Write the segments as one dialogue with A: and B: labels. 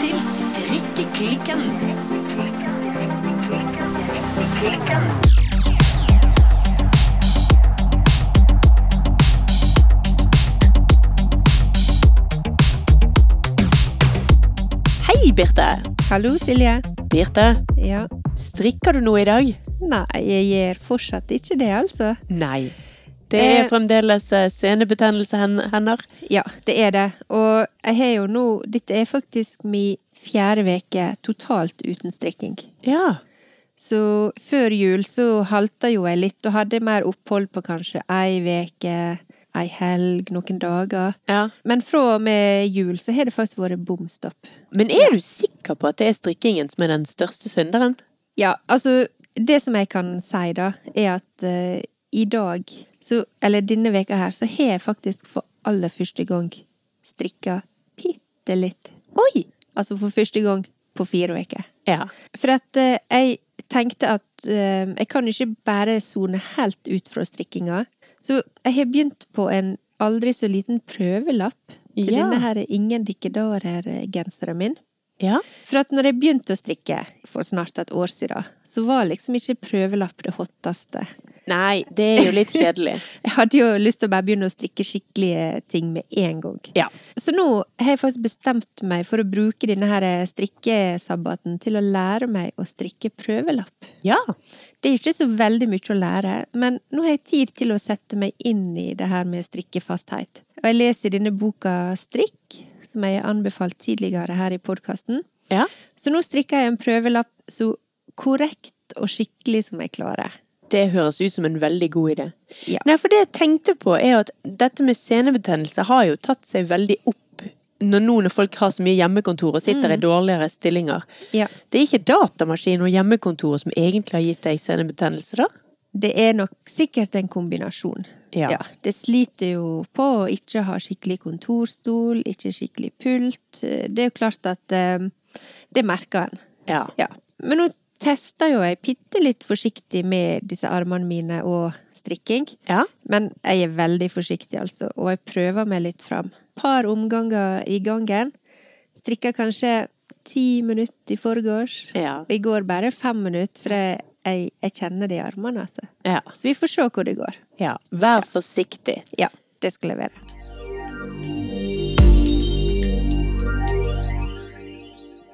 A: til Strikkeklikken. Hei, Birte.
B: Hallo, Silje.
A: Birte,
B: Ja.
A: strikker du noe i dag?
B: Nei, jeg gjør fortsatt ikke det, altså.
A: Nei. Det er
B: Eh.
A: fremdeles eh, senebetennelseshender.
B: Ja, det er det. Og jeg har jo nå Dette er faktisk min fjerde uke totalt uten strikking.
A: Ja.
B: Så før jul så halta jo jeg litt, og hadde mer opphold på kanskje ei uke, ei helg, noen dager.
A: ja.
B: Men fra og med jul så har det faktisk vært bom stopp.
A: Men er du sikker på at det er strikkingen som er den største synderen?
B: Ja, altså Det som jeg kan si, da, er at eh, i dag, så, eller denne veka her, så har jeg faktisk for aller første gang strikka bitte litt.
A: Oi!
B: Altså for første gang på fire uker.
A: Ja.
B: For at eh, jeg tenkte at eh, jeg kan jo ikke bare sone helt ut fra strikkinga. Så jeg har begynt på en aldri så liten prøvelapp til
A: Ja.
B: denne her Ingen dikkedarer-genseren min.
A: Ja.
B: For at når jeg begynte å strikke for snart et år siden, så var liksom ikke prøvelapp det hotteste.
A: Nei, det er jo litt kjedelig.
B: Jeg hadde jo lyst til å bare begynne å strikke skikkelige ting med en gang.
A: Ja.
B: Så nå har jeg faktisk bestemt meg for å bruke denne her strikkesabbaten til å lære meg å strikke prøvelapp.
A: Ja.
B: Det er jo ikke så veldig mye å lære, men nå har jeg tid til å sette meg inn i det her med strikkefasthet. Og jeg leser denne boka Strikk, som jeg har anbefalt tidligere her i podkasten.
A: Ja.
B: Så nå strikker jeg en prøvelapp så korrekt og skikkelig som jeg klarer.
A: Det høres ut som en veldig god idé.
B: Ja.
A: Nei, for det jeg tenkte på er at dette med senebetennelse har jo tatt seg veldig opp når nå når folk har så mye hjemmekontor og sitter i dårligere stillinger.
B: Ja.
A: Det er ikke datamaskin og hjemmekontoret som egentlig har gitt deg senebetennelse, da?
B: Det er nok sikkert en kombinasjon.
A: Ja.
B: det sliter jo på å ikke ha skikkelig kontorstol, ikke skikkelig pult. Det er jo klart at eh, det merker en.
A: Ja.
B: Ja. Men nå tester jo jeg bitte litt forsiktig med disse armene mine og strikking.
A: Ja.
B: Men jeg er veldig forsiktig, altså, og jeg prøver meg litt fram. Par omganger i gangen. Strikka kanskje ti minutter i forgårs.
A: Ja.
B: Og I går bare fem minutter, for jeg, jeg, jeg kjenner det i armene, altså.
A: ja.
B: Så vi får se hvor det går.
A: ja. Vær forsiktig.
B: Ja, det skal jeg være.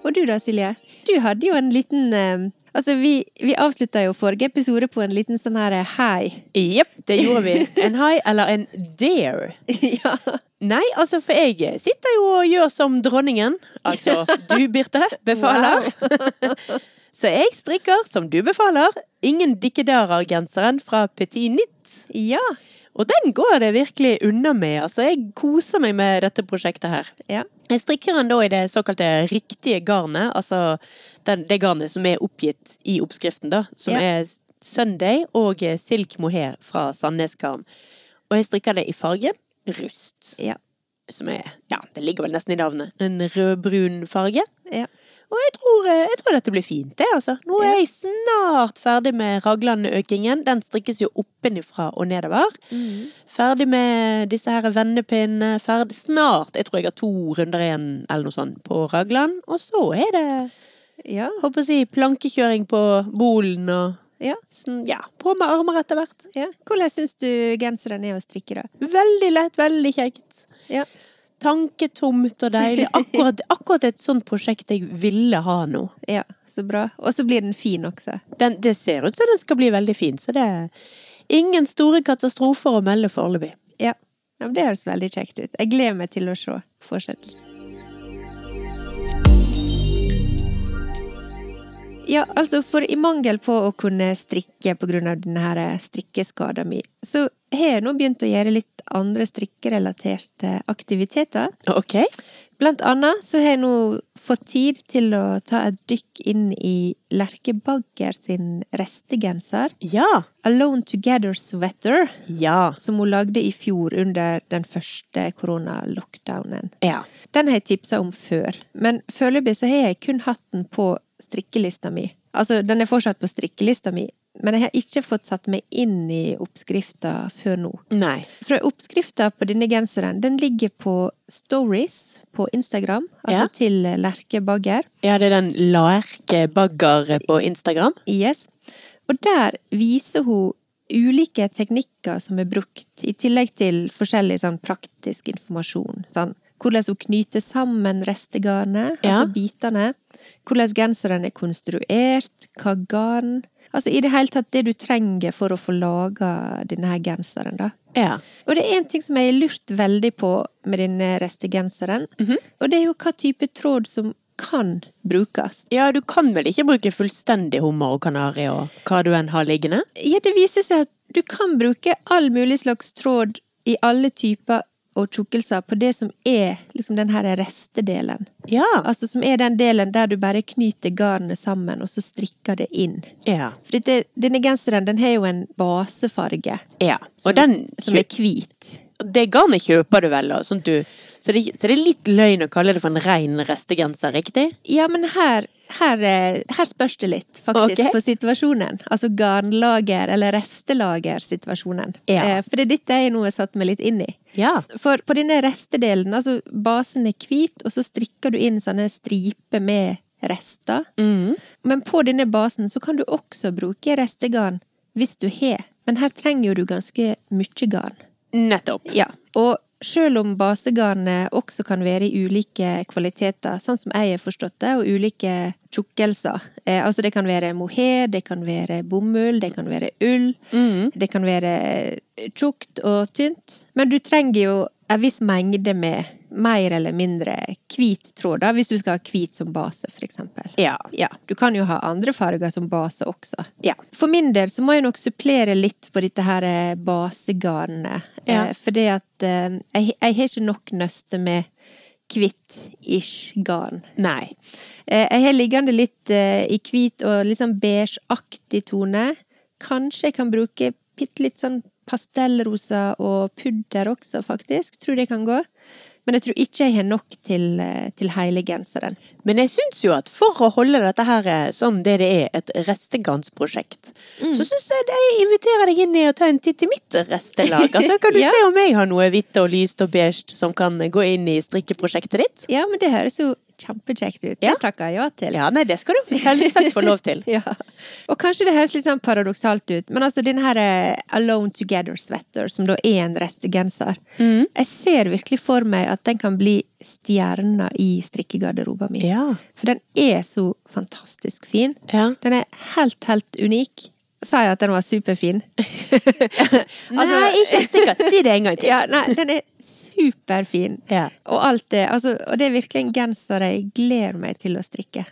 B: Og du da, Silje? Du hadde jo en liten eh, Altså, vi, vi avslutta jo forrige episode på en liten sånn her eh, hei.
A: Jepp, det gjorde vi. En high eller en dare.
B: ja.
A: Nei, altså, for jeg sitter jo og gjør som dronningen. Altså, du, Birte, befaler. Så jeg strikker, som du befaler, ingen dikkedarer-genseren fra Petit Nitt.
B: Ja.
A: Og den går det virkelig unna med. Altså, jeg koser meg med dette prosjektet her.
B: Ja.
A: Jeg strikker den da i det såkalte riktige garnet, altså den, det garnet som er oppgitt i oppskriften, da. Som
B: Ja.
A: er Sunday og eh, Silk Mohair fra Sandnes Garn. Og jeg strikker det i fargen rust.
B: Ja.
A: Som er Ja, det ligger vel nesten i navnet. En rødbrun farge.
B: ja.
A: Og jeg tror, eh, jeg tror dette blir fint, det, altså. Nå er jeg snart ferdig med Ragland-økingen. Den strikkes jo oppenifra og nedover. Ferdig med disse her vendepinnene. Ferdig snart. Jeg tror jeg har to runder igjen eller noe sånt på Ragland. Og så er det,
B: Ja.
A: håper jeg å si, plankekjøring på bolen og
B: ja.
A: sånn, ja, på med armer etter hvert.
B: ja. Hvordan syns du genseren er å strikke, da?
A: Veldig lett, veldig kjekt.
B: Ja.
A: Tanketomt og deilig. Akkurat, akkurat et sånt prosjekt jeg ville ha nå.
B: ja. Så bra. Og så blir den fin også.
A: den, det ser ut som den skal bli veldig fin, så det er ingen store katastrofer å melde foreløpig.
B: Ja. ja men det høres veldig kjekt ut. Jeg gleder meg til å se fortsettelsen. Ja, altså, for i mangel på å kunne strikke på grunn av denne her eh, strikkeskada mi, så har jeg nå begynt å gjøre litt andre strikkerelaterte aktiviteter.
A: Ok.
B: Blant annet så har jeg nå fått tid til å ta et dykk inn i Lerke Bagger sin restegenser,
A: Ja.
B: Alone Together Sweater,
A: Ja.
B: som hun lagde i fjor under den første koronalockdownen.
A: Ja.
B: Den har jeg tipsa om før, men foreløpig så har jeg kun hatt den på strikkelista mi. Altså, den er fortsatt på strikkelista mi, men jeg har ikke fått satt meg inn i oppskrifta før nå.
A: Nei.
B: For oppskrifta på denne genseren, den ligger på stories på Instagram, altså
A: Ja.
B: til Lerke Bagger.
A: Ja, det er den Larke Bagger på Instagram.
B: Yes. Og der viser hun ulike teknikker som er brukt, i tillegg til forskjellig sånn praktisk informasjon. Sånn, hvordan hun knyter sammen restegarnet,
A: Ja.
B: altså bitene. Hvordan genseren er konstruert, hva garn Altså i det hele tatt det du trenger for å få laga denne her genseren, da.
A: Ja.
B: Og det er en ting som jeg har lurt veldig på med denne restegenseren,
A: Mhm.
B: og det er jo hva type tråd som kan brukes.
A: Ja, du kan vel ikke bruke fullstendig hummer og kanari og hva du enn har liggende?
B: Ja, det viser seg at du kan bruke all mulig slags tråd i alle typer og tjukkelser på det som er liksom den her restedelen.
A: Ja.
B: Altså som er den delen der du bare knyter garnet sammen, og så strikker det inn.
A: Ja.
B: For dette, denne genseren, den har jo en basefarge
A: ja.
B: som,
A: Og den
B: som er hvit.
A: Det garnet kjøper du vel, og sånt du så det, så det er litt løgn å kalle det for en rein restegenser, riktig?
B: Ja, men her, her, eh, her spørs det litt, faktisk,
A: Ok.
B: på situasjonen. Altså garnlager- eller restelagersituasjonen.
A: Ja.
B: Eh, For det er dette jeg nå har satt meg litt inn i.
A: Ja.
B: For på denne restedelen, altså basen er hvit, og så strikker du inn sånne striper med rester.
A: Mm.
B: Men på denne basen så kan du også bruke restegarn hvis du har. Men her trenger jo du ganske mye garn.
A: Nettopp.
B: Ja, og selv om basegarnet også kan være i ulike kvaliteter, sånn som jeg har forstått det, og ulike tjukkelser. Eh, altså det kan være mohair, det kan være bomull, det kan være ull,
A: Mm.
B: det kan være eh, tjukt og tynt. Men du trenger jo en viss mengde med mer eller mindre hvit tråd, da, hvis du skal ha hvit som base, for eksempel.
A: Ja.
B: Ja, du kan jo ha andre farger som base også.
A: Ja.
B: For min del så må jeg nok supplere litt på dette her eh, basegarnet.
A: Ja.
B: Eh, fordi at eh, jeg, jeg har ikke nok nøste med hvitt-ish garn.
A: Nei.
B: Eh, jeg har liggende litt eh, i hvit og litt sånn beigeaktig tone. Kanskje jeg kan bruke bitte litt sånn pastellrosa og pudder også, faktisk. Tror det kan gå. Men jeg tror ikke jeg har nok til, eh, til hele genseren.
A: Men jeg syns jo at for å holde dette her eh, som det det er, et restegarnsprosjekt, så syns jeg at jeg inviterer deg inn i å ta en titt i mitt restelag. Så kan du
B: Ja.
A: se om jeg har noe hvitt og lyst og beige som kan gå inn i strikkeprosjektet ditt.
B: Ja, men det høres jo kjempekjekt ut.
A: Ja.
B: Det takker jeg ja til.
A: Ja, nei, det skal du selvsagt få lov til.
B: Ja. Og kanskje det høres litt sånn paradoksalt ut, men altså den her eh, Alone Together Sweater, som da er en restegenser,
A: Mm.
B: jeg ser virkelig for meg at den kan bli stjerna i strikkegarderoben min.
A: Ja.
B: For den er så fantastisk fin.
A: Ja.
B: Den er helt, helt unik. Sa jeg at den var superfin? Altså-
A: nei, ikke helt sikkert. Si det en gang til.
B: Ja, nei, den er superfin.
A: Ja.
B: Og alt det. Altså, og det er virkelig en genser jeg gleder meg til å strikke.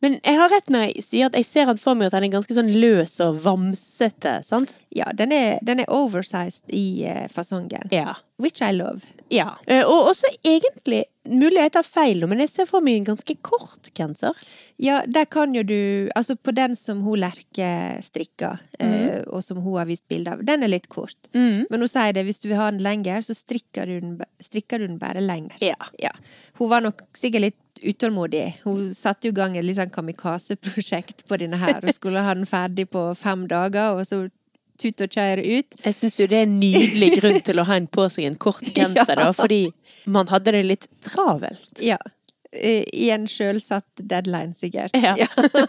A: Men jeg har rett når jeg sier at jeg ser han for meg at han er ganske sånn løs og vamsete, sant?
B: Ja, den er, den er oversized i eh, fasongen.
A: Ja.
B: Which I love.
A: ja. Eh, Og også egentlig, mulig jeg tar feil nå, men jeg ser for meg en ganske kort genser.
B: Ja, der kan jo du Altså, på den som hun Lerke strikker, eh, og som hun har vist bilde av, den er litt kort.
A: Mm.
B: Men hun sier det, hvis du vil ha den lenger, så strikker du den, b- strikker du den bare lenger.
A: Ja.
B: Ja. Hun var nok sikkert litt utålmodig. Hun satte jo i gang et litt sånn kamikaze-prosjekt på denne her, og skulle ha den ferdig på fem dager, og så tut og kjør ut.
A: Jeg syns jo det er en nydelig grunn til å ha en på seg en kort genser, da, fordi man hadde det litt travelt.
B: Ja. Eh, I en sjølsatt deadline, sikkert.
A: Ja.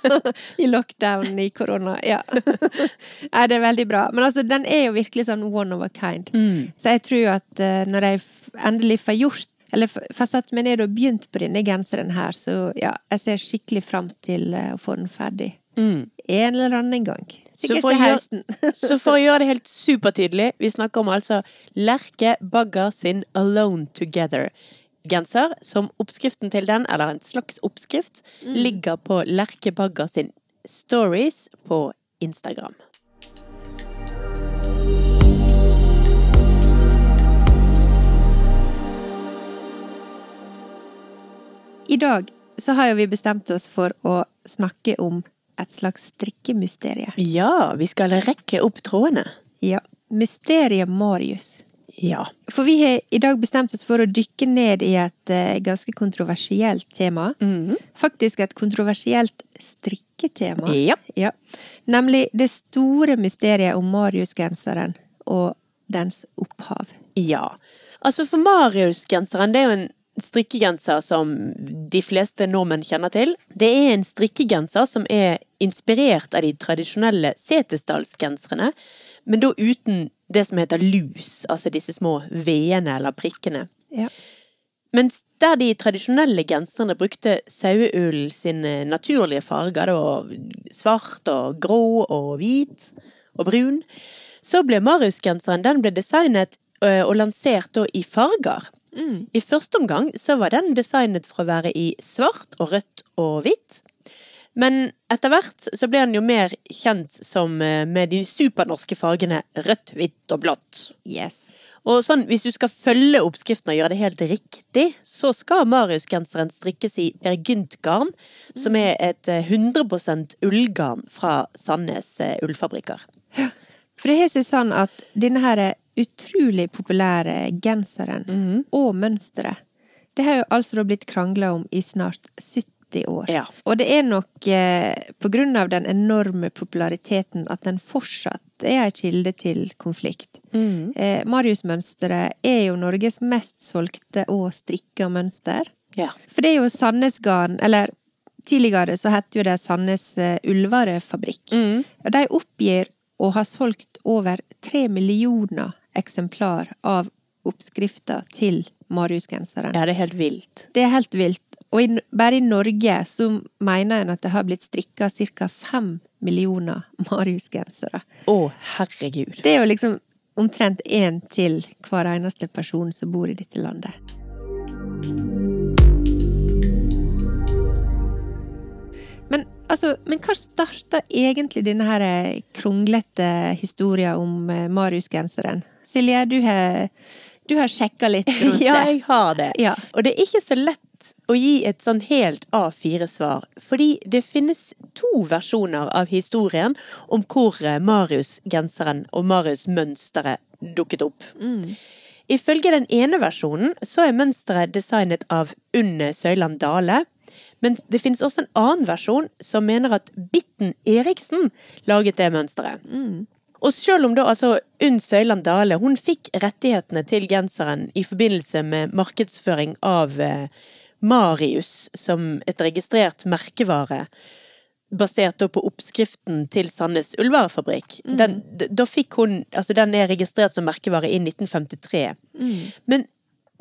B: I lockdown, i korona. Ja. Nei, det er veldig bra. Men altså, den er jo virkelig sånn one of a kind.
A: Mm.
B: Så jeg tror at eh, når jeg f- endelig får gjort eller f- får satt meg ned og begynt på denne genseren her, så ja, jeg ser skikkelig fram til eh, å få den ferdig. En eller annen gang. Sikkert
A: Mm. for å
B: til
A: gjøre-
B: høsten.
A: Så for å gjøre det helt supertydelig, vi snakker om altså Lerke Bagger sin Alone Together-genser, som oppskriften til den, eller en slags oppskrift, Mm. ligger på Lerke Bagger sin Stories på Instagram.
B: I dag så har jo vi bestemt oss for å snakke om et slags strikkemysterium.
A: Ja, vi skal rekke opp trådene.
B: Ja. Mysteriet Marius.
A: Ja.
B: For vi har i dag bestemt oss for å dykke ned i et eh, ganske kontroversielt tema.
A: Mhm.
B: Faktisk et kontroversielt strikketema.
A: Ja.
B: Ja. Nemlig det store mysteriet om Marius-genseren og dens opphav.
A: Ja. Altså, for Marius-genseren, det er jo en strikkegenser som de fleste nordmenn kjenner til. Det er en strikkegenser som er inspirert av de tradisjonelle setesdalsgenserne, men da uten det som heter lus, altså disse små V-ene eller prikkene.
B: Ja.
A: Mens der de tradisjonelle genserne brukte saueull sine naturlige farger, det var svart og grå og hvit og brun, så ble Marius-genseren den ble designet ø, og lansert da i farger. I første omgang så var den designet for å være i svart og rødt og hvitt. Men etter hvert så ble han jo mer kjent som ø, med de supernorske fargene rødt, hvitt og blått.
B: Yes.
A: Og sånn, Hvis du skal følge oppskriften og gjøre det helt riktig, så skal Marius-genseren strikkes i bergyntgarn, som er et eh, 100 ullgarn fra Sandnes eh, ullfabrikker.
B: For det har seg sånn at denne her utrolig populære genseren
A: Mhm.
B: og mønsteret, det har jo altså da blitt krangla om i snart 70 år.
A: Ja.
B: Og det er nok eh, på grunn av den enorme populariteten at den fortsatt er ei kilde til konflikt. Eh, Marius-mønsteret er jo Norges mest solgte og strikka mønster.
A: Ja.
B: For det er jo Sandnes Garn, eller tidligere så het jo det Sandnes eh, Ullvarefabrikk. Og de oppgir å ha solgt over tre millioner eksemplar av oppskrifta til Marius-genseren.
A: ja, det er helt vilt.
B: Det er helt vilt. Og i, bare i Norge så mener en at det har blitt strikka ca. fem millioner Marius-gensere.
A: Å, herregud.
B: Det er jo liksom omtrent én til hver eneste person som bor i dette landet. Men, altså, men hva starta egentlig denne her eh, kronglete historien om eh, Marius-genseren? Silje, du har, du har sjekka litt rundt
A: Ja,
B: det.
A: jeg har det.
B: Ja.
A: Og det er ikke så lett å gi et sånn helt A4-svar, fordi det finnes to versjoner av historien om hvor eh, Marius-genseren og Marius-mønsteret dukket opp.
B: Mm.
A: Ifølge den ene versjonen så er mønsteret designet av Unne Søyland Dale. Men det finnes også en annen versjon som mener at Bitten Eriksen laget det mønsteret. Og selv om da altså Unn Søyland Dale hun fikk rettighetene til genseren i forbindelse med markedsføring av eh, Marius som et registrert merkevare, basert da på oppskriften til Sandnes ullvarefabrikk. Den, d- da fikk hun, altså den er registrert som merkevare i 1953. Men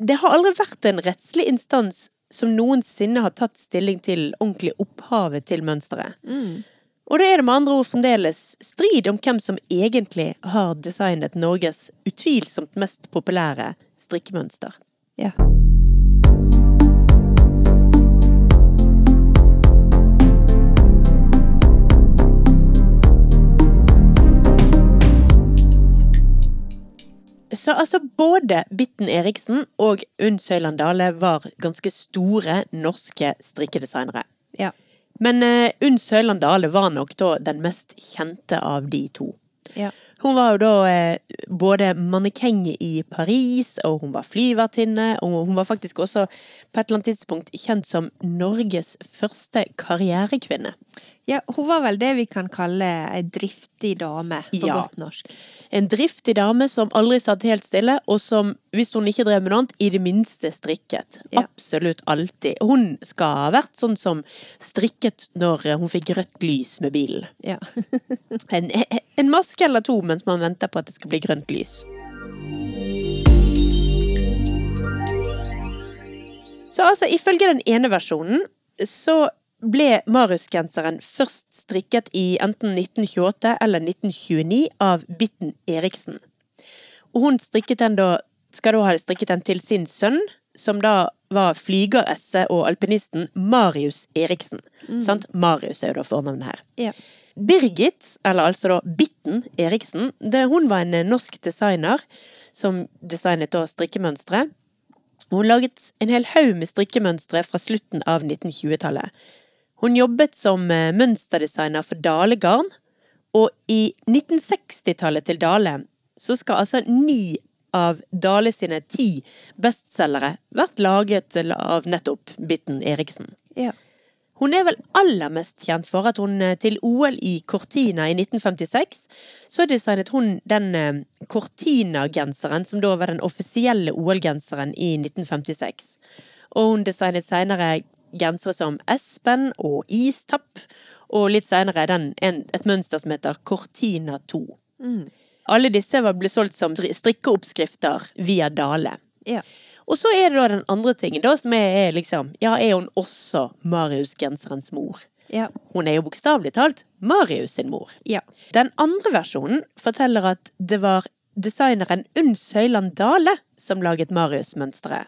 A: det har aldri vært en rettslig instans som noensinne har tatt stilling til ordentlig opphavet til mønsteret. Og da er det med andre ord fremdeles strid om hvem som egentlig har designet Norges utvilsomt mest populære strikkemønster.
B: Ja.
A: Så altså både Bitten Eriksen og Unn Søyland Dale var ganske store norske strikkedesignere.
B: Ja.
A: Men eh, Unn Søyland Dale var nok da den mest kjente av de to.
B: ja.
A: Hun var jo da eh, både mannekeng i Paris, og hun var flyvertinne, og hun var faktisk også på et eller annet tidspunkt kjent som Norges første karrierekvinne.
B: Ja, hun var vel det vi kan kalle ei driftig dame, på
A: Ja.
B: godt norsk.
A: En driftig dame som aldri satt helt stille, og som, hvis hun ikke drev med noe annet, i det minste strikket.
B: Ja.
A: Absolutt alltid. Hun skal ha vært sånn som strikket når hun fikk rødt lys med bilen.
B: Ja.
A: En, en maske eller to mens man venter på at det skal bli grønt lys. Så altså, ifølge den ene versjonen, så ble Marius-genseren først strikket i enten 1928 eller 1929 av Bitten Eriksen. Og hun strikket den da, skal da ha strikket den til sin sønn, som da var flygeresse og alpinisten Marius Eriksen. Sant? Marius er jo da fornavnet her.
B: ja.
A: Birgit, eller altså da Bitten Eriksen, det, hun var en eh, norsk designer som designet da strikkemønstre. Hun laget en hel haug med strikkemønstre fra slutten av 1920-tallet. Hun jobbet som eh, mønsterdesigner for Dale Garn, og i 1960-tallet til Dale så skal altså ni av Dale sine ti bestselgere vært laget av nettopp Bitten Eriksen.
B: Ja.
A: Hun er vel aller mest kjent for at hun eh, til OL i Cortina i 1956 så designet hun den eh, Cortina-genseren som da var den offisielle OL-genseren i 1956. Og hun designet senere gensere som Espen og Istapp, og litt senere den, en, et mønster som heter Cortina 2. Alle disse var- ble solgt som stri- strikkeoppskrifter via Dale.
B: ja.
A: Og så er det da den andre tingen da, som er, er liksom Ja, er hun også Marius-genserens mor?
B: Ja.
A: Hun er jo bokstavelig talt Marius sin mor.
B: Ja.
A: Den andre versjonen forteller at det var designeren Unn Søyland Dale som laget Marius-mønsteret.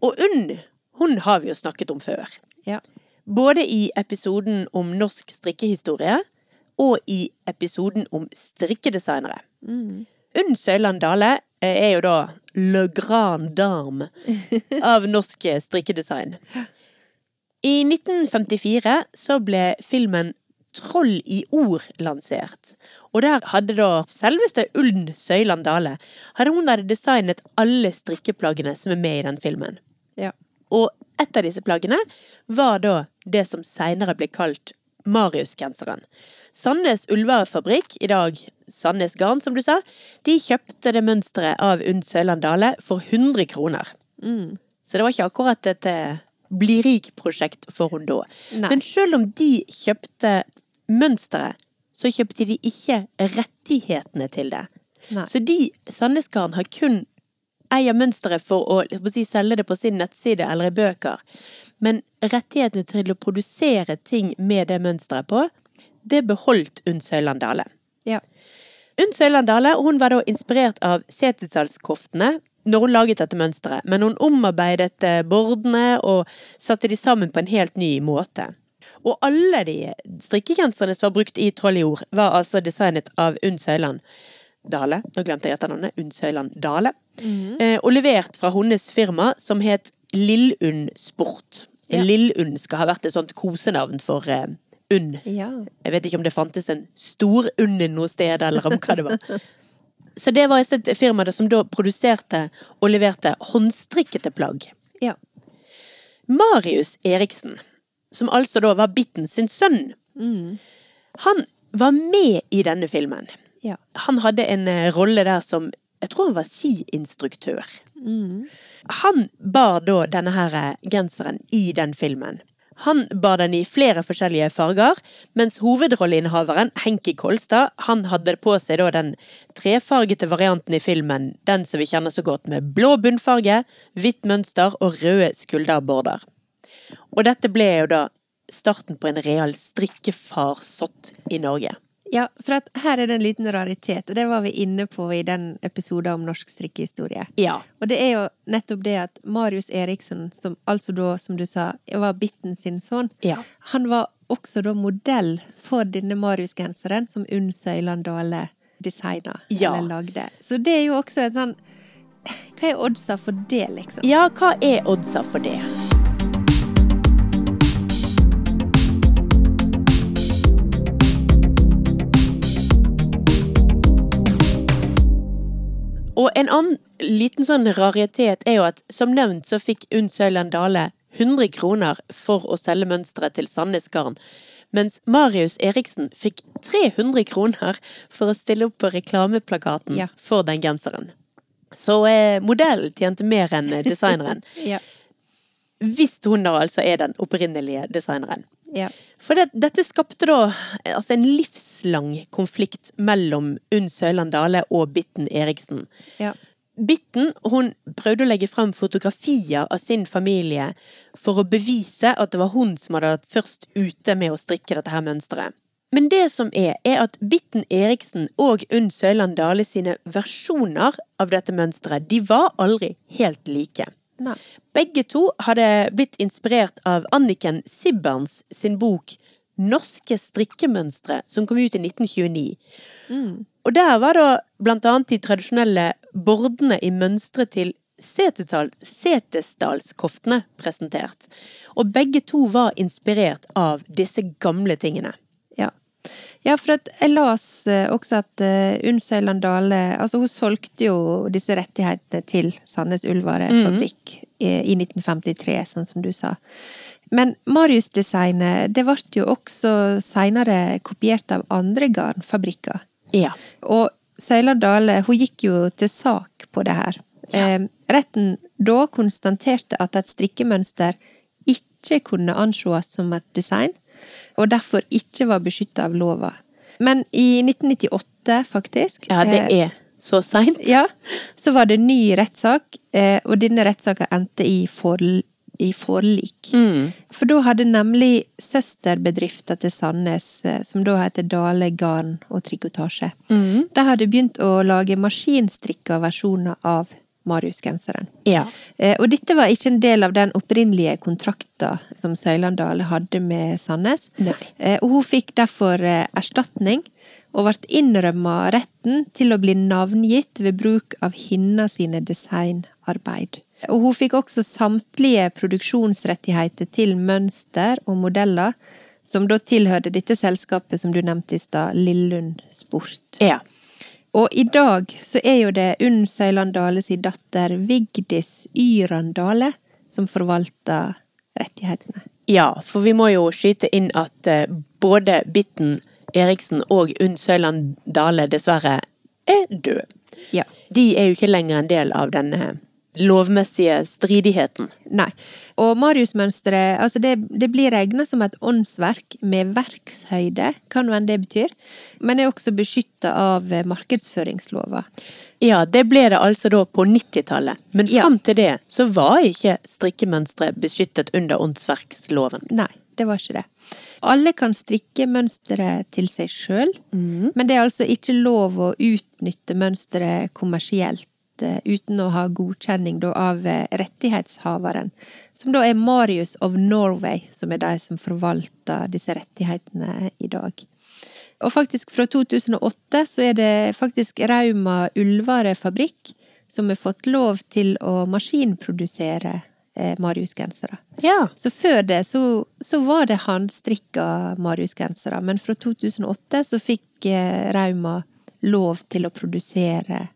A: Og Unn, hun har vi jo snakket om før.
B: Ja.
A: Både i episoden om norsk strikkehistorie og i episoden om strikkedesignere. Unn Søyland Dale eh, er jo da le grand dame av norsk eh, strikkedesign. I 1954 så ble filmen Troll i ord lansert. Og der hadde da selveste Uln Søyland Dale Hadde hun hadde designet alle strikkeplaggene som er med i den filmen.
B: Ja.
A: Og et av disse plaggene var da det som seinere ble kalt Marius-genseren. Sandnes Ullvarefabrikk, i dag Sandnes Garn, som du sa, de kjøpte det mønsteret av Unn Søyland Dale for 100 kroner. Så det var ikke akkurat et eh, bli rik-prosjekt for hun da.
B: Nei.
A: Men selv om de kjøpte mønsteret, så kjøpte de ikke rettighetene til det.
B: Nei.
A: Så de, Sandnes Garn, har kun eier mønsteret for å jeg holdt på å si, selge det på sin nettside eller i bøker. Men rettighetene til å produsere ting med det mønsteret på, det beholdt Unn Søyland Dale.
B: Ja.
A: Unn Søyland Dale hun var da inspirert av Setesdalskoftene når hun laget dette mønsteret, men hun omarbeidet eh, bordene og satte de sammen på en helt ny måte. Og alle de strikkegenserne som var brukt i Troll i ord, var altså designet av Unn Søyland Dale. Nå glemte jeg etternavnet. Unn Søyland Dale. Eh, Og levert fra hennes firma som het Lillund Sport.
B: Ja.
A: Lillund skal ha vært et sånt kosenavn for eh, Unn.
B: Ja.
A: Jeg vet ikke om det fantes en stor unden noe sted, eller om hva det var. Så det var et firma da som da produserte og leverte håndstrikkete plagg.
B: Ja.
A: Marius Eriksen, som altså da var Bitten sin sønn, han var med i denne filmen.
B: Ja.
A: Han hadde en eh, rolle der som Jeg tror han var skiinstruktør. Han bar da denne her eh, genseren i den filmen. Han bar den i flere forskjellige farger, mens hovedrolleinnehaveren, Henki Kolstad, han hadde på seg da den trefargete varianten i filmen, den som vi kjenner så godt, med blå bunnfarge, hvitt mønster og røde skulderborder. Og dette ble jo da starten på en real strikkefarsott i Norge.
B: Ja, for at her er det en liten raritet, og det var vi inne på i den episoden om norsk strikkehistorie.
A: Ja.
B: Og det er jo nettopp det at Marius Eriksen, som altså da, som du sa, var Bitten sin sønn,
A: Ja.
B: han var også da modell for denne Marius-genseren som Unn Søyland Dale designa
A: Ja.
B: eller lagde. Så det er jo også en sånn Hva er oddsa for det, liksom?
A: Ja, hva er oddsa for det? Og en annen liten sånn raritet er jo at som nevnt så fikk Unn Søyland Dale 100 kroner for å selge mønsteret til Sandnes Garn, mens Marius Eriksen fikk 300 kroner for å stille opp på reklameplakaten
B: Ja.
A: for den genseren. Så eh, modellen tjente mer enn eh, designeren.
B: Ja.
A: Hvis hun da altså er den opprinnelige designeren.
B: Ja.
A: For det, dette skapte da eh, altså en livslang konflikt mellom Unn Søland Dale og Bitten Eriksen.
B: Ja.
A: Bitten hun prøvde å legge frem fotografier av sin familie for å bevise at det var hun som hadde vært først ute med å strikke dette her mønsteret. Men det som er, er at Bitten Eriksen og Unn Søland Dale sine versjoner av dette mønsteret, de var aldri helt like.
B: Nei.
A: Begge to hadde blitt inspirert av Anniken Sibberns sin bok Norske strikkemønstre, som kom ut i 1929.
B: Mm.
A: Og der var da blant annet de tradisjonelle bordene i mønstret til Setetal, Setesdalskoftene presentert. Og begge to var inspirert av disse gamle tingene.
B: Ja. Ja, for at jeg las eh, også at eh, Unn Søyland Dale altså Hun solgte jo disse rettighetene til Sandnes Ullvarefabrikk eh, i 1953, sånn som du sa. Men Marius-designet det ble jo også seinere kopiert av andre garnfabrikker.
A: Ja.
B: Og Søyland Dale hun gikk jo til sak på det her. Eh, retten da konstaterte at et strikkemønster ikke kunne ansees som et design, og derfor ikke var beskytta av lova. Men i 1998, faktisk
A: ja, det
B: eh,
A: er så seint.
B: ja, så var det ny rettssak, eh, og denne rettssaken endte i, forl i forlik. For da hadde nemlig søsterbedrifter til Sandnes, eh, som da heter Dale Garn og Trikotasje, de hadde begynt å lage maskinstrikka versjoner av Marius-genseren.
A: Ja.
B: Eh, Og dette var ikke en del av den opprinnelige kontrakta som Søyland Dale hadde med Sandnes.
A: Nei.
B: Eh, Og hun fikk derfor eh, erstatning, og ble innrømma retten til å bli navngitt ved bruk av hinna sine designarbeid. Og hun fikk også samtlige produksjonsrettigheter til mønster og modeller, som da tilhørte dette selskapet som du nevnte i stad, Lillund Sport.
A: ja.
B: Og i dag så er jo det Unn Søyland Dale sin datter Vigdis Yran Dale som forvalter rettighetene.
A: Ja, for vi må jo skyte inn at eh, både Bitten Eriksen og Unn Søyland Dale dessverre er døde.
B: Ja.
A: De er jo ikke lenger en del av denne lovmessige stridigheten.
B: Nei. Og Marius-mønsteret altså det, det blir regna som et åndsverk med verkshøyde, hva nå enn det betyr, men er også beskytta av eh, markedsføringslova.
A: Ja, det ble det altså da på 90-tallet, men
B: Ja.
A: fram til det så var ikke strikkemønstre beskyttet under åndsverksloven.
B: Nei, det var ikke det. Alle kan strikke mønsteret til seg sjøl, men det er altså ikke lov å utnytte mønsteret kommersielt eh, uten å ha godkjenning da, av eh, rettighetshaveren, som da er Marius of Norway, som er de som forvalter disse rettighetene i dag. Og faktisk fra 2008 så er det faktisk Rauma Ulvare fabrikk som har fått lov til å maskinprodusere eh, Marius-gensere.
A: Ja.
B: Så før det så, så var det håndstrikka Marius-gensere, men fra 2008 så fikk eh, Rauma lov til å produsere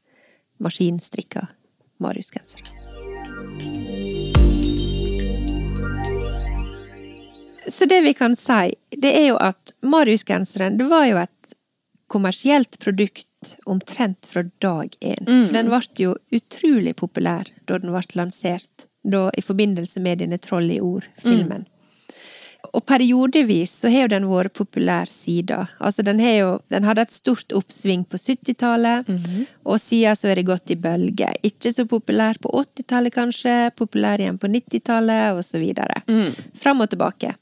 B: maskinstrikka Marius-gensere. Så det vi kan si, det er jo at Marius-genseren, det var jo et kommersielt produkt omtrent fra dag én. For den ble jo utrolig populær da den ble lansert, da i forbindelse med denne Troll i ord-filmen. Og periodevis så har jo den vært populær siden. Altså den har jo Den hadde et stort oppsving på 70-tallet, og siden så er det gått i bølger. Ikke så populær på 80-tallet, kanskje. Populær igjen på 90-tallet, og så videre. Fram og tilbake.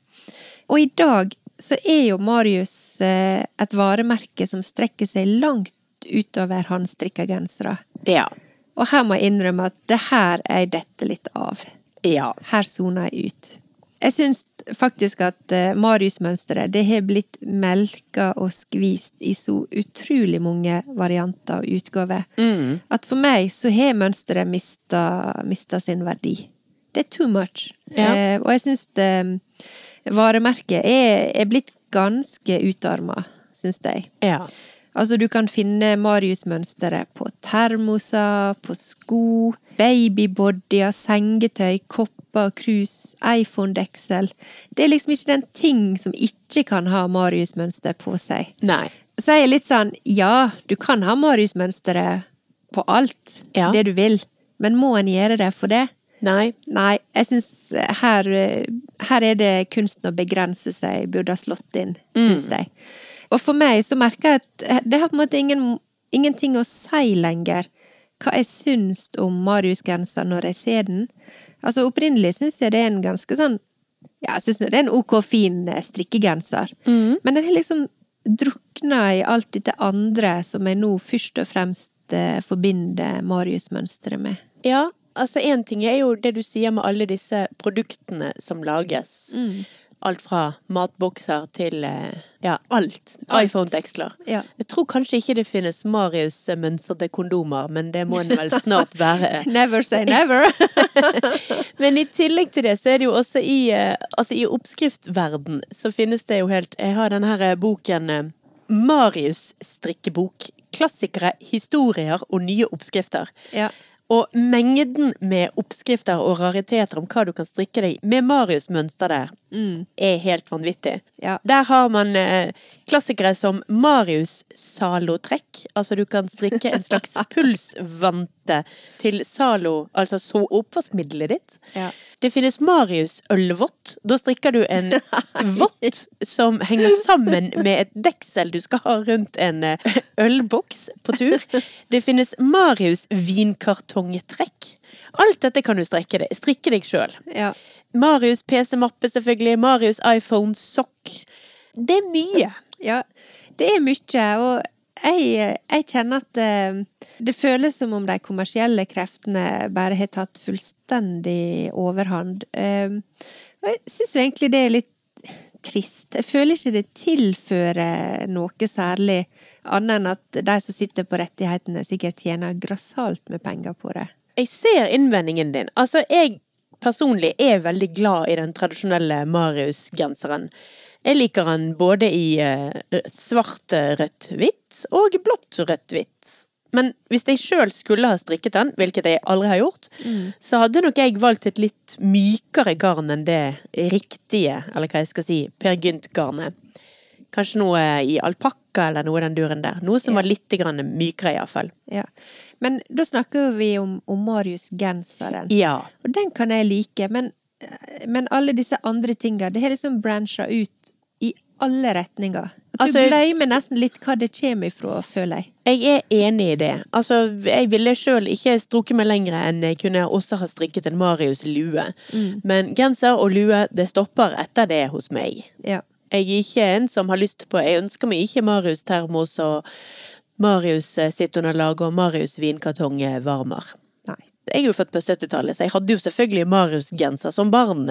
B: Og i dag så er jo Marius eh, et varemerke som strekker seg langt utover håndstrikka gensere.
A: Ja.
B: Og her må jeg innrømme at det her er jeg dette litt av.
A: Ja.
B: Her soner jeg ut. Jeg syns faktisk at eh, Marius-mønsteret det har blitt melka og skvist i så utrolig mange varianter og utgaver at for meg så har mønsteret mista, mista sin verdi. Det er too much.
A: Ja.
B: Eh, og jeg syns det- varemerket er, er blitt ganske utarma, syns jeg.
A: Ja.
B: Altså, du kan finne Marius-mønsteret på termoser, på sko, babybodyer, sengetøy, kopper, krus, iPhone-deksel. Det er liksom ikke den ting som ikke kan ha Marius-mønster på seg.
A: Nei.
B: Så jeg er litt sånn, ja, du kan ha Marius-mønsteret på alt,
A: Ja.
B: det du vil, men må en gjøre det for det?
A: Nei.
B: Nei, jeg syns her, eh, her er det kunsten å begrense seg burde ha slått inn, syns jeg. Og for meg så merker jeg at eh, det har på en måte ingen, ingenting å si lenger hva jeg syns om Marius-genser når jeg ser den. Altså Opprinnelig syns jeg det er en ganske sånn Ja, jeg syns det er en ok fin eh, strikkegenser, men den har liksom drukna i alt dette andre som jeg nå først og fremst eh, forbinder Marius-mønsteret med.
A: Ja, altså én ting er jo det du sier med alle disse produktene som lages.
B: Mm.
A: Alt fra matbokser til eh, ja, alt.
B: Alt.
A: iPhone-deksler.
B: Ja.
A: Jeg tror kanskje ikke det finnes Marius-mønstrede kondomer, men det må det vel snart være.
B: Never say never!
A: Men i tillegg til det, så er det jo også i, eh, altså i oppskriftverden, så finnes det jo helt Jeg har denne her eh, boken eh, Marius strikkebok. Klassikere, historier og nye oppskrifter.
B: Ja.
A: Og mengden med oppskrifter og rariteter om hva du kan strikke deg med Marius-mønster der, er helt vanvittig.
B: Ja.
A: Der har man eh, klassikere som Marius-salotrekk. Altså du kan strikke en slags pulsvante til salo, altså så oppvaskmiddelet ditt.
B: Ja.
A: Det finnes Marius-ølvott. Da strikker du en vott som henger sammen med et deksel du skal ha rundt en eh, ølboks på tur. Det finnes Marius-vinkartongtrekk. Alt dette kan du strikke deg, strikke deg sjøl.
B: Ja.
A: Marius PC-mappe, selvfølgelig. Marius iPhone-sokk. Det er mye.
B: Ja, det er mye, og jeg, jeg kjenner at eh, det føles som om de kommersielle kreftene bare har tatt fullstendig overhand. Eh, Og jeg syns egentlig det er litt trist. Jeg føler ikke det tilfører noe særlig, annet enn at de som sitter på rettighetene, sikkert tjener grassat med penger på det.
A: Jeg ser innvendingen din. Altså, jeg personlig er veldig glad i den tradisjonelle Marius-genseren. Jeg liker den både i eh, svart, eh, rødt, hvitt og blått, rødt, hvitt. Men hvis jeg sjøl skulle ha strikket den, hvilket jeg aldri har gjort, så hadde nok jeg valgt et litt mykere garn enn det riktige, eller hva jeg skal si, Per Gynt-garnet. Kanskje noe i alpakka eller noe i den duren der. Noe som var litt grann mykere, iallfall.
B: Ja. Men da snakker vi om, om Marius-genseren.
A: Ja.
B: Og den kan jeg like, men, men alle disse andre tinga, det har liksom brancha ut i alle retninger. At
A: Altså-
B: du glemmer nesten litt hva det kommer ifra, føler jeg.
A: Jeg er enig i det. Altså, jeg ville sjøl ikke strukket meg lenger enn jeg kunne også ha strikket en Marius-lue. Men genser og lue, det stopper etter det hos meg.
B: Ja.
A: Jeg er ikke en som har lyst på Jeg ønsker meg ikke Marius-termos og Marius-sittunderlag og Marius-vinkartongvarmer.
B: Nei.
A: Jeg er jo født på 70-tallet, så jeg hadde jo selvfølgelig Marius-genser som barn.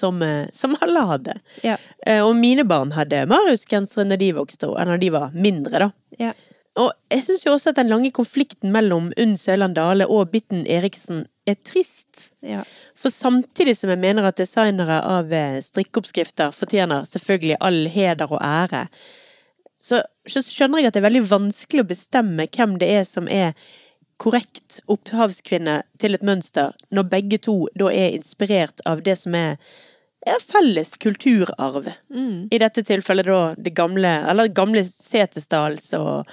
A: Som, eh, som alle hadde.
B: Ja.
A: Eh, Og mine barn hadde Marius-gensere når de vokste, og- når de var mindre, da.
B: Ja.
A: Og jeg syns jo også at den lange konflikten mellom Unn Søland Dale og Bitten Eriksen er trist.
B: Ja.
A: For samtidig som jeg mener at designere av eh, strikkeoppskrifter fortjener selvfølgelig all heder og ære, så så skjønner jeg at det er veldig vanskelig å bestemme hvem det er som er korrekt opphavskvinne til et mønster, når begge to da er inspirert av det som er er felles kulturarv. I dette tilfellet da det gamle, eller gamle Setesdals- og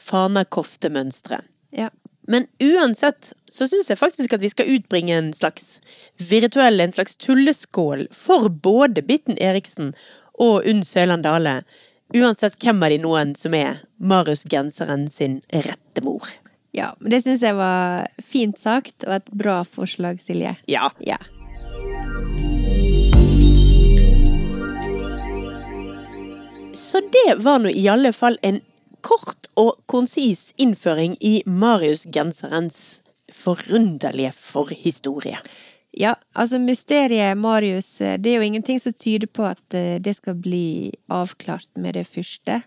A: Fanakoftemønsteret.
B: ja.
A: Men uansett så syns jeg faktisk at vi skal utbringe en slags virtuell, en slags tulleskål for både Bitten Eriksen og Unn Søland Dale. Uansett hvem av de noen som er Marius Genseren sin rette mor.
B: ja. Men det syns jeg var fint sagt, og et bra forslag, Silje.
A: Ja.
B: Ja.
A: Så det var nå i alle fall en kort og konsis innføring i Marius Genserens forunderlige forhistorie.
B: Ja, altså mysteriet Marius, eh, det er jo ingenting som tyder på at eh, det skal bli avklart med det første.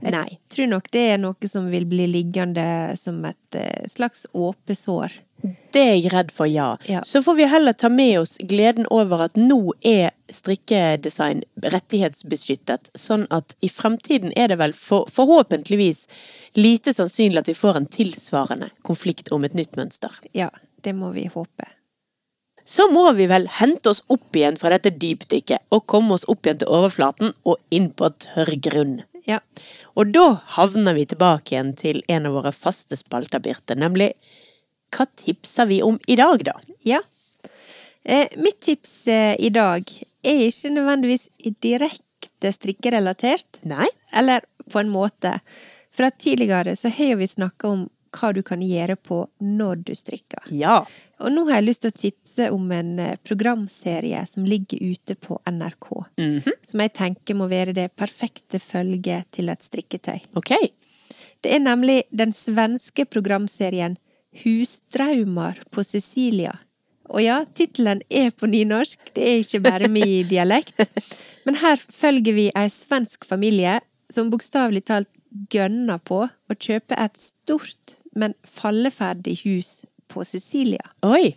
B: Jeg
A: Nei.
B: tror nok det er noe som vil bli liggende som et eh, slags åpent sår.
A: Det er jeg redd for, ja.
B: Ja.
A: Så får vi heller ta med oss gleden over at nå er strikkedesign rettighetsbeskyttet, sånn at i fremtiden er det vel for, forhåpentligvis lite sannsynlig at vi får en tilsvarende konflikt om et nytt mønster.
B: Ja, det må vi håpe.
A: Så må vi vel hente oss opp igjen fra dette dypdykket og komme oss opp igjen til overflaten og inn på tørr grunn.
B: Ja.
A: Og da havner vi tilbake igjen til en av våre faste spalter, Birte, nemlig hva tipser vi om i dag, da?
B: ja. Eh, mitt tips eh, i dag er ikke nødvendigvis direkte strikkerelatert,
A: Nei?
B: eller på en måte. For at tidligere så har jo vi snakka om hva du kan gjøre på når du strikker.
A: Ja.
B: Og nå har jeg lyst til å tipse om en eh, programserie som ligger ute på NRK. Som jeg tenker må være det perfekte følget til et strikketøy.
A: Ok.
B: Det er nemlig den svenske programserien Husdraumar på Sicilia. Og ja, tittelen er på nynorsk, det er ikke bare min dialekt. Men her følger vi ei svensk familie som bokstavelig talt gønner på å kjøpe et stort, men falleferdig hus på Sicilia.
A: Oi.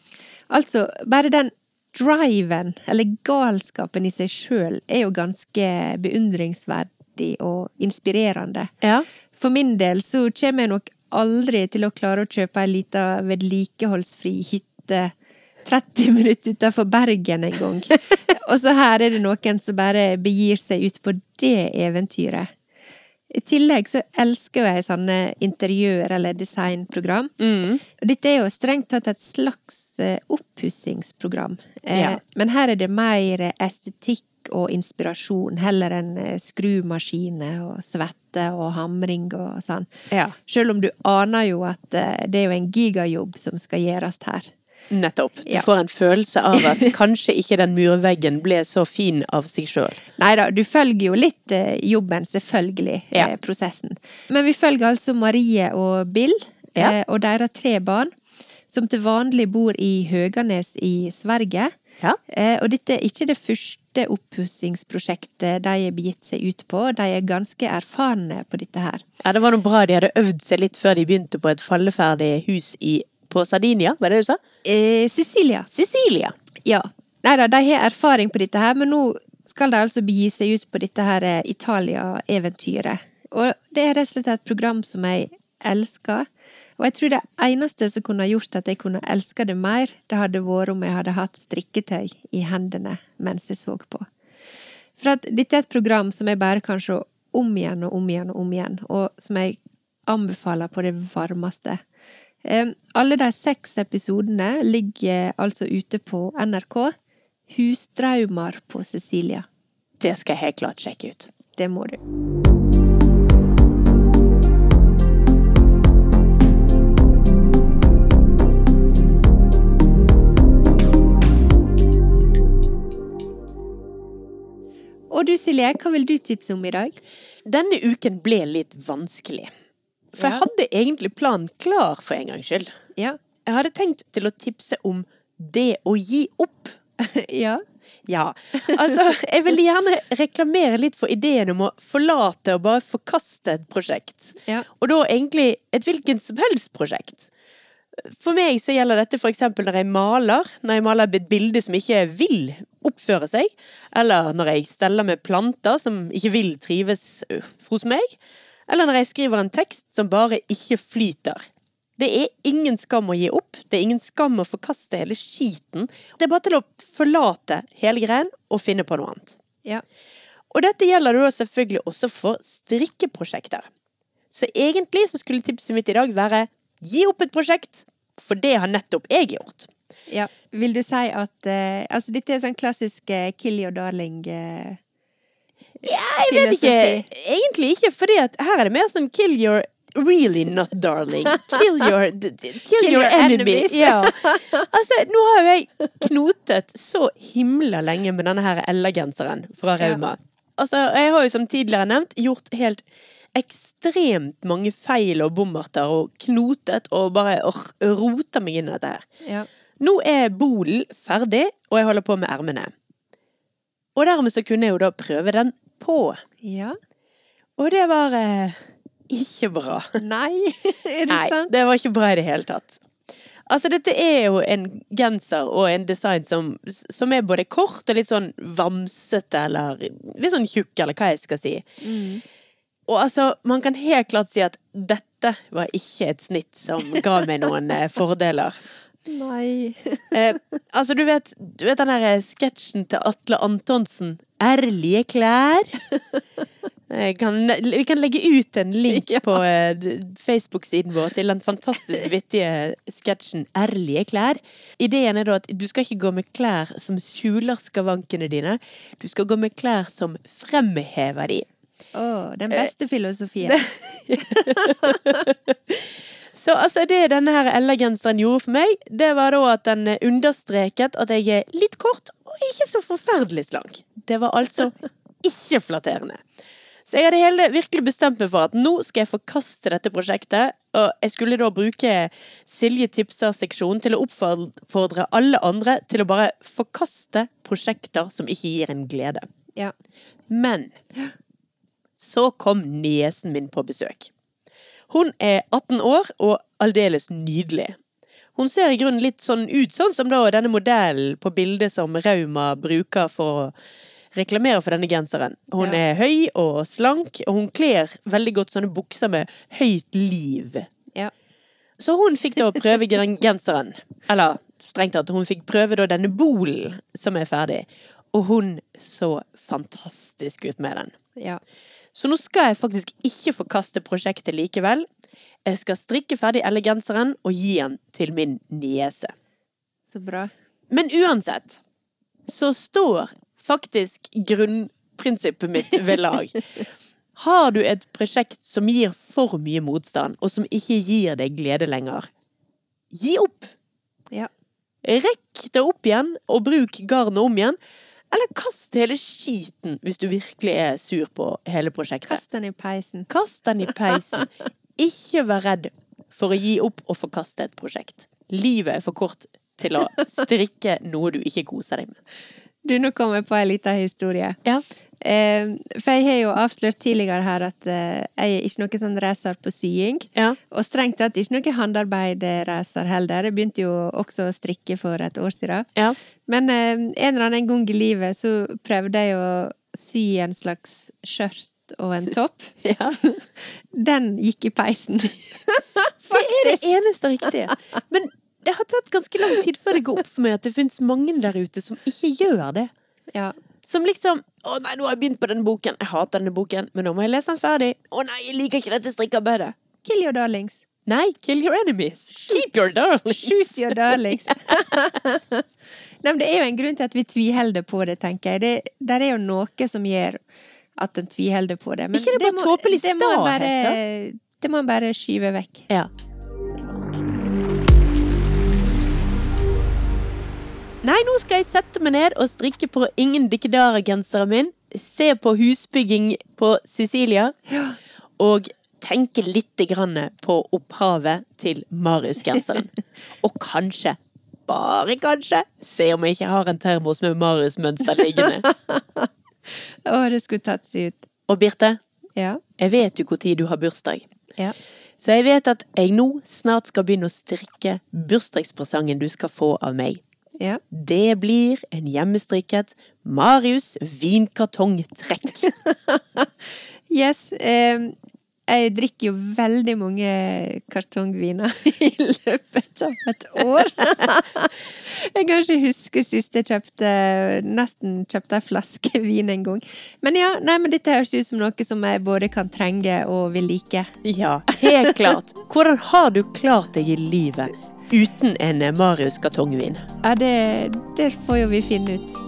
B: Altså, bare den driven, eller galskapen i seg sjøl, er jo ganske beundringsverdig artig og inspirerende.
A: Ja.
B: For min del så kommer jeg nok aldri til å klare å kjøpe ei lita vedlikeholdsfri hytte 30 minutter utenfor Bergen en gang. Og så her er det noen som bare begir seg ut på det eventyret. I tillegg så elsker jeg sånne interiør- eller designprogram.
A: Mm.
B: Og Dette er jo strengt tatt et slags eh, oppussingsprogram. Eh,
A: Ja.
B: Men her er det mer eh, estetikk og inspirasjon, heller enn eh, skrumaskiner og svette og hamring og sånn.
A: Ja.
B: Selv om du aner jo at eh, det er jo en gigajobb som skal gjøres her.
A: Nettopp. Du
B: Ja.
A: får en følelse av at kanskje ikke den murveggen ble så fin av seg sjøl.
B: Nei da, du følger jo litt eh, jobben, selvfølgelig,
A: Ja.
B: eh, prosessen. Men vi følger altså Marie og Bill
A: Ja.
B: eh, og deres tre barn, som til vanlig bor i Høganes i Sverige.
A: Ja.
B: Eh, og dette er ikke det første oppussingsprosjektet de har begitt seg ut på. De er ganske erfarne på dette her.
A: ja, det var noe bra de hadde øvd seg litt før de begynte på et falleferdig hus i, på Sardinia, var det det du sa?
B: Eh, Cecilia.
A: Sicilia.
B: Ja. Nei da, de har erfaring på dette her, men nå skal de altså begi seg ut på dette her eh, Italia-eventyret. Og det er rett og slett et program som jeg elsker. Og jeg tror det eneste som kunne ha gjort at jeg kunne elske det mer, det hadde vært om jeg hadde hatt strikketøy i hendene mens jeg så på. For at dette er et program som jeg bare kan se om igjen og om igjen og om igjen, og som jeg anbefaler på det varmeste. Eh, Alle de seks episodene ligger altså ute på NRK. Husdraumer på Cecilia.
A: Det skal jeg helt klart sjekke ut.
B: Det må du. Og du Silje, hva vil du tipse om i dag?
A: Denne uken ble litt vanskelig. For
B: Ja.
A: jeg hadde egentlig planen klar for en gangs skyld.
B: Ja.
A: Jeg hadde tenkt til å tipse om det å gi opp.
B: ja.
A: Ja. Altså, jeg ville gjerne reklamere litt for ideen om å forlate og bare forkaste et prosjekt.
B: Ja.
A: Og da egentlig et hvilket som helst prosjekt. For meg så gjelder dette for eksempel når jeg maler. Når jeg maler et bilde som ikke vil oppføre seg. Eller når jeg steller med planter som ikke vil trives ø, hos meg. Eller når jeg skriver en tekst som bare ikke flyter. Det er ingen skam å gi opp. Det er ingen skam å forkaste hele skiten. Det er bare til å forlate hele greien og finne på noe annet.
B: ja.
A: Og dette gjelder jo selvfølgelig også for strikkeprosjekter. Så egentlig så skulle tipset mitt i dag være gi opp et prosjekt, for det har nettopp jeg gjort.
B: Ja. Vil du si at eh, Altså, dette er sånn klassisk eh, kill your darling eh,
A: Jeg vet ikke, egentlig ikke, fordi at her er det mer sånn kill your Really not darling. Kill your, d- d- kill your,
B: your
A: enemy.
B: enemies.
A: Ja. Altså, nå har jo jeg knotet så himla lenge med denne her LA-genseren fra
B: Ja.
A: Rauma. Altså, jeg har jo som tidligere nevnt gjort helt ekstremt mange feil og bommerter og knotet og bare orr, rota meg inn i dette her.
B: Ja.
A: Nå er bolen ferdig, og jeg holder på med ermene. Og dermed så kunne jeg jo da prøve den på.
B: ja.
A: Og det var eh, ikke bra.
B: Nei, er det
A: Nei,
B: sant?
A: det var ikke bra i det hele tatt. Altså, dette er jo en genser og en design som, som er både kort og litt sånn vamsete, eller litt sånn tjukk, eller hva jeg skal si.
B: Mm.
A: Og altså, man kan helt klart si at dette var ikke et snitt som ga meg noen eh, fordeler.
B: Nei.
A: Eh, altså, du vet, du vet den der eh, sketsjen til Atle Antonsen? Ærlige klær. Jeg Kan, vi kan legge ut en link
B: Ja.
A: på eh, d- Facebook-siden vår til den fantastisk vittige sketsjen Ærlige klær. Ideen er da at du skal ikke gå med klær som skjuler skavankene dine. Du skal gå med klær som fremhever de.
B: Å, den beste filosofien.
A: Så altså, det denne her LA-genseren gjorde for meg, det var da at den eh, understreket at jeg er litt kort og ikke så forferdelig slank. Det var altså ikke flatterende. Så jeg hadde hele virkelig bestemt meg for at nå skal jeg forkaste dette prosjektet, og jeg skulle da bruke Silje Tipser-seksjonen til å oppfordre alle andre til å bare forkaste prosjekter som ikke gir en glede.
B: Ja.
A: Men så kom niesen min på besøk. Hun er 18 år og aldeles nydelig. Hun ser i grunnen litt sånn ut sånn som da denne modellen på bildet som Rauma bruker for å reklamerer for denne genseren. Hun
B: Ja.
A: er høy og slank, og hun kler veldig godt sånne bukser med høyt liv.
B: Ja.
A: Så hun fikk da prøve den genseren. Eller strengt tatt, hun fikk prøve da denne bolen som er ferdig. Og hun så fantastisk ut med den.
B: ja.
A: Så nå skal jeg faktisk ikke forkaste prosjektet likevel. Jeg skal strikke ferdig elegenseren og gi den til min niese.
B: Så bra.
A: Men uansett så står faktisk grunnprinsippet mitt ved lag. Har du et prosjekt som gir for mye motstand, og som ikke gir deg glede lenger, gi opp!
B: Ja.
A: Rekk det opp igjen, og bruk garnet om igjen. Eller kast hele skiten hvis du virkelig er sur på hele prosjektet.
B: Kast den i peisen.
A: Kast den i peisen. Ikke vær redd for å gi opp og forkaste et prosjekt. Livet er for kort til å strikke noe du ikke koser deg med.
B: Du, nå kom jeg på en liten historie.
A: Ja.
B: Eh, for jeg har jo avslørt tidligere her at eh, jeg er ikke noen sånn racer på sying.
A: Ja.
B: Og strengt tatt ikke noen handarbeidracer heller. Jeg begynte jo også å strikke for et år siden.
A: Ja.
B: Men eh, en eller annen gang i livet så prøvde jeg å sy en slags skjørt og en topp.
A: ja.
B: Den gikk i peisen.
A: Det er det eneste riktige. Men det har tatt ganske lang tid før det går opp for meg at det finnes mange der ute som ikke gjør det.
B: Ja.
A: Som liksom Å nei, nå har jeg begynt på denne boken. Jeg hater denne boken, men nå må jeg lese den ferdig. Å nei, jeg liker ikke dette strikkearbeidet.
B: Kill your darlings.
A: Nei, kill your enemies. Keep your darling.
B: Shoot your darlings. Nei, men det er jo en grunn til at vi tviholder på det, tenker jeg. Det, der er jo noe som gjør at en tviholder på det. Men
A: Ikke det bare
B: må-
A: tåpelig
B: det må en
A: stahet,
B: bare- Det må en bare skyve vekk.
A: Ja. Nei, nå skal jeg sette meg ned og strikke på ingen dikkedara-genseren min. Se på husbygging på Sicilia. Og tenke litt grann på opphavet til Marius-genseren. og kanskje, bare kanskje, se om jeg ikke har en termos med Marius-mønster liggende.
B: Å, det skulle tatt seg ut.
A: og Birte,
B: Ja.
A: jeg vet jo når du har bursdag.
B: ja.
A: Så jeg vet at jeg nå snart skal begynne å strikke bursdagspresangen du skal få av meg.
B: ja.
A: Det blir en hjemmestrikket Marius vinkartongtrekk.
B: Yes. eh, jeg drikker jo veldig mange kartongviner i løpet av et år. Jeg kan ikke huske sist jeg kjøpte Nesten kjøpte ei flaske vin en gang. Men ja, nei, men dette høres ut som noe som jeg både kan trenge og vil like.
A: Ja, helt klart. Hvordan har du klart deg i livet uten en Marius kartongvin?
B: Ja, det, det får jo vi finne ut.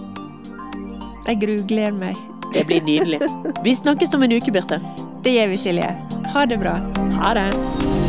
B: Jeg grugler meg.
A: Det blir nydelig. Vi snakkes om en uke, Birte.
B: Det gjør vi, Silje. Ha det bra.
A: Ha det.